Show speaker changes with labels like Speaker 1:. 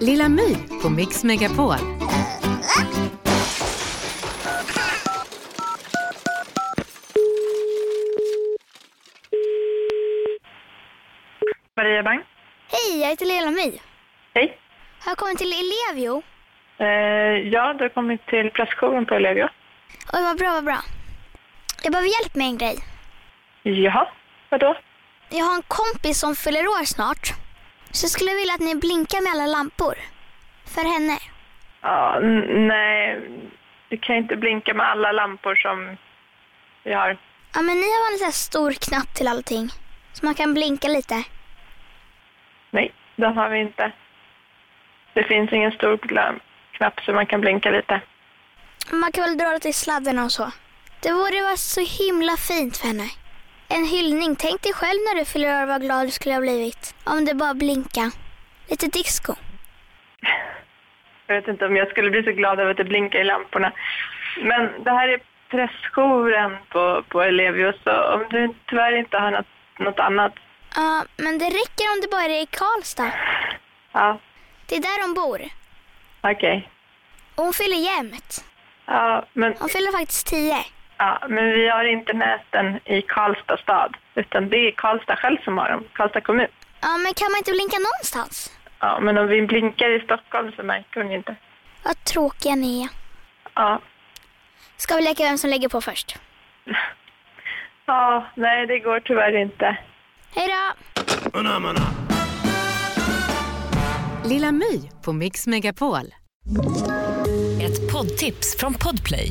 Speaker 1: Lilla My på Mix Megapol.
Speaker 2: Maria Bang.
Speaker 3: Hej, jag heter Lilla My.
Speaker 2: Hej.
Speaker 3: Har jag kommit till Elevio?
Speaker 2: Eh, ja, du har kommit till pressjouren på Ellevio.
Speaker 3: Oj, vad bra, vad bra. Jag behöver hjälp med en grej.
Speaker 2: Jaha, vadå?
Speaker 3: Jag har en kompis som fyller år snart. Så jag skulle vilja att ni blinkar med alla lampor. För henne.
Speaker 2: Ja, n- nej, du kan inte blinka med alla lampor som vi har.
Speaker 3: Ja, men ni har en sån här stor knapp till allting. Så man kan blinka lite.
Speaker 2: Nej, den har vi inte. Det finns ingen stor glam- knapp så man kan blinka lite.
Speaker 3: Man kan väl dra lite i sladdarna och så. Det borde vara så himla fint för henne. En hyllning. Tänk dig själv när du fyller år vad glad du skulle ha blivit. Om det bara blinka. Lite disco.
Speaker 2: Jag vet inte om jag skulle bli så glad över att det blinkar i lamporna. Men det här är pressjouren på, på Ellevio, så om du tyvärr inte har något, något annat,
Speaker 3: Ja, men det räcker om det bara är i Karlstad.
Speaker 2: ja,
Speaker 3: Det är där hon bor.
Speaker 2: okej.
Speaker 3: Och hon fyller jämt.
Speaker 2: Ja, men
Speaker 3: Hon fyller faktiskt tio.
Speaker 2: Ja, men vi har inte näten i Karlstad stad, utan det är Karlstad själv som har dem, Karlstad kommun.
Speaker 3: Ja, men kan man inte blinka någonstans?
Speaker 2: Ja, men om vi blinkar i Stockholm så märker hon inte.
Speaker 3: Vad tråkiga ni är.
Speaker 2: Ja,
Speaker 3: Ska vi leka vem som lägger på först?
Speaker 2: ja nej det går tyvärr inte.
Speaker 3: Hej då!
Speaker 1: Lilla My på Mix Megapol.
Speaker 4: Ett poddtips från Podplay.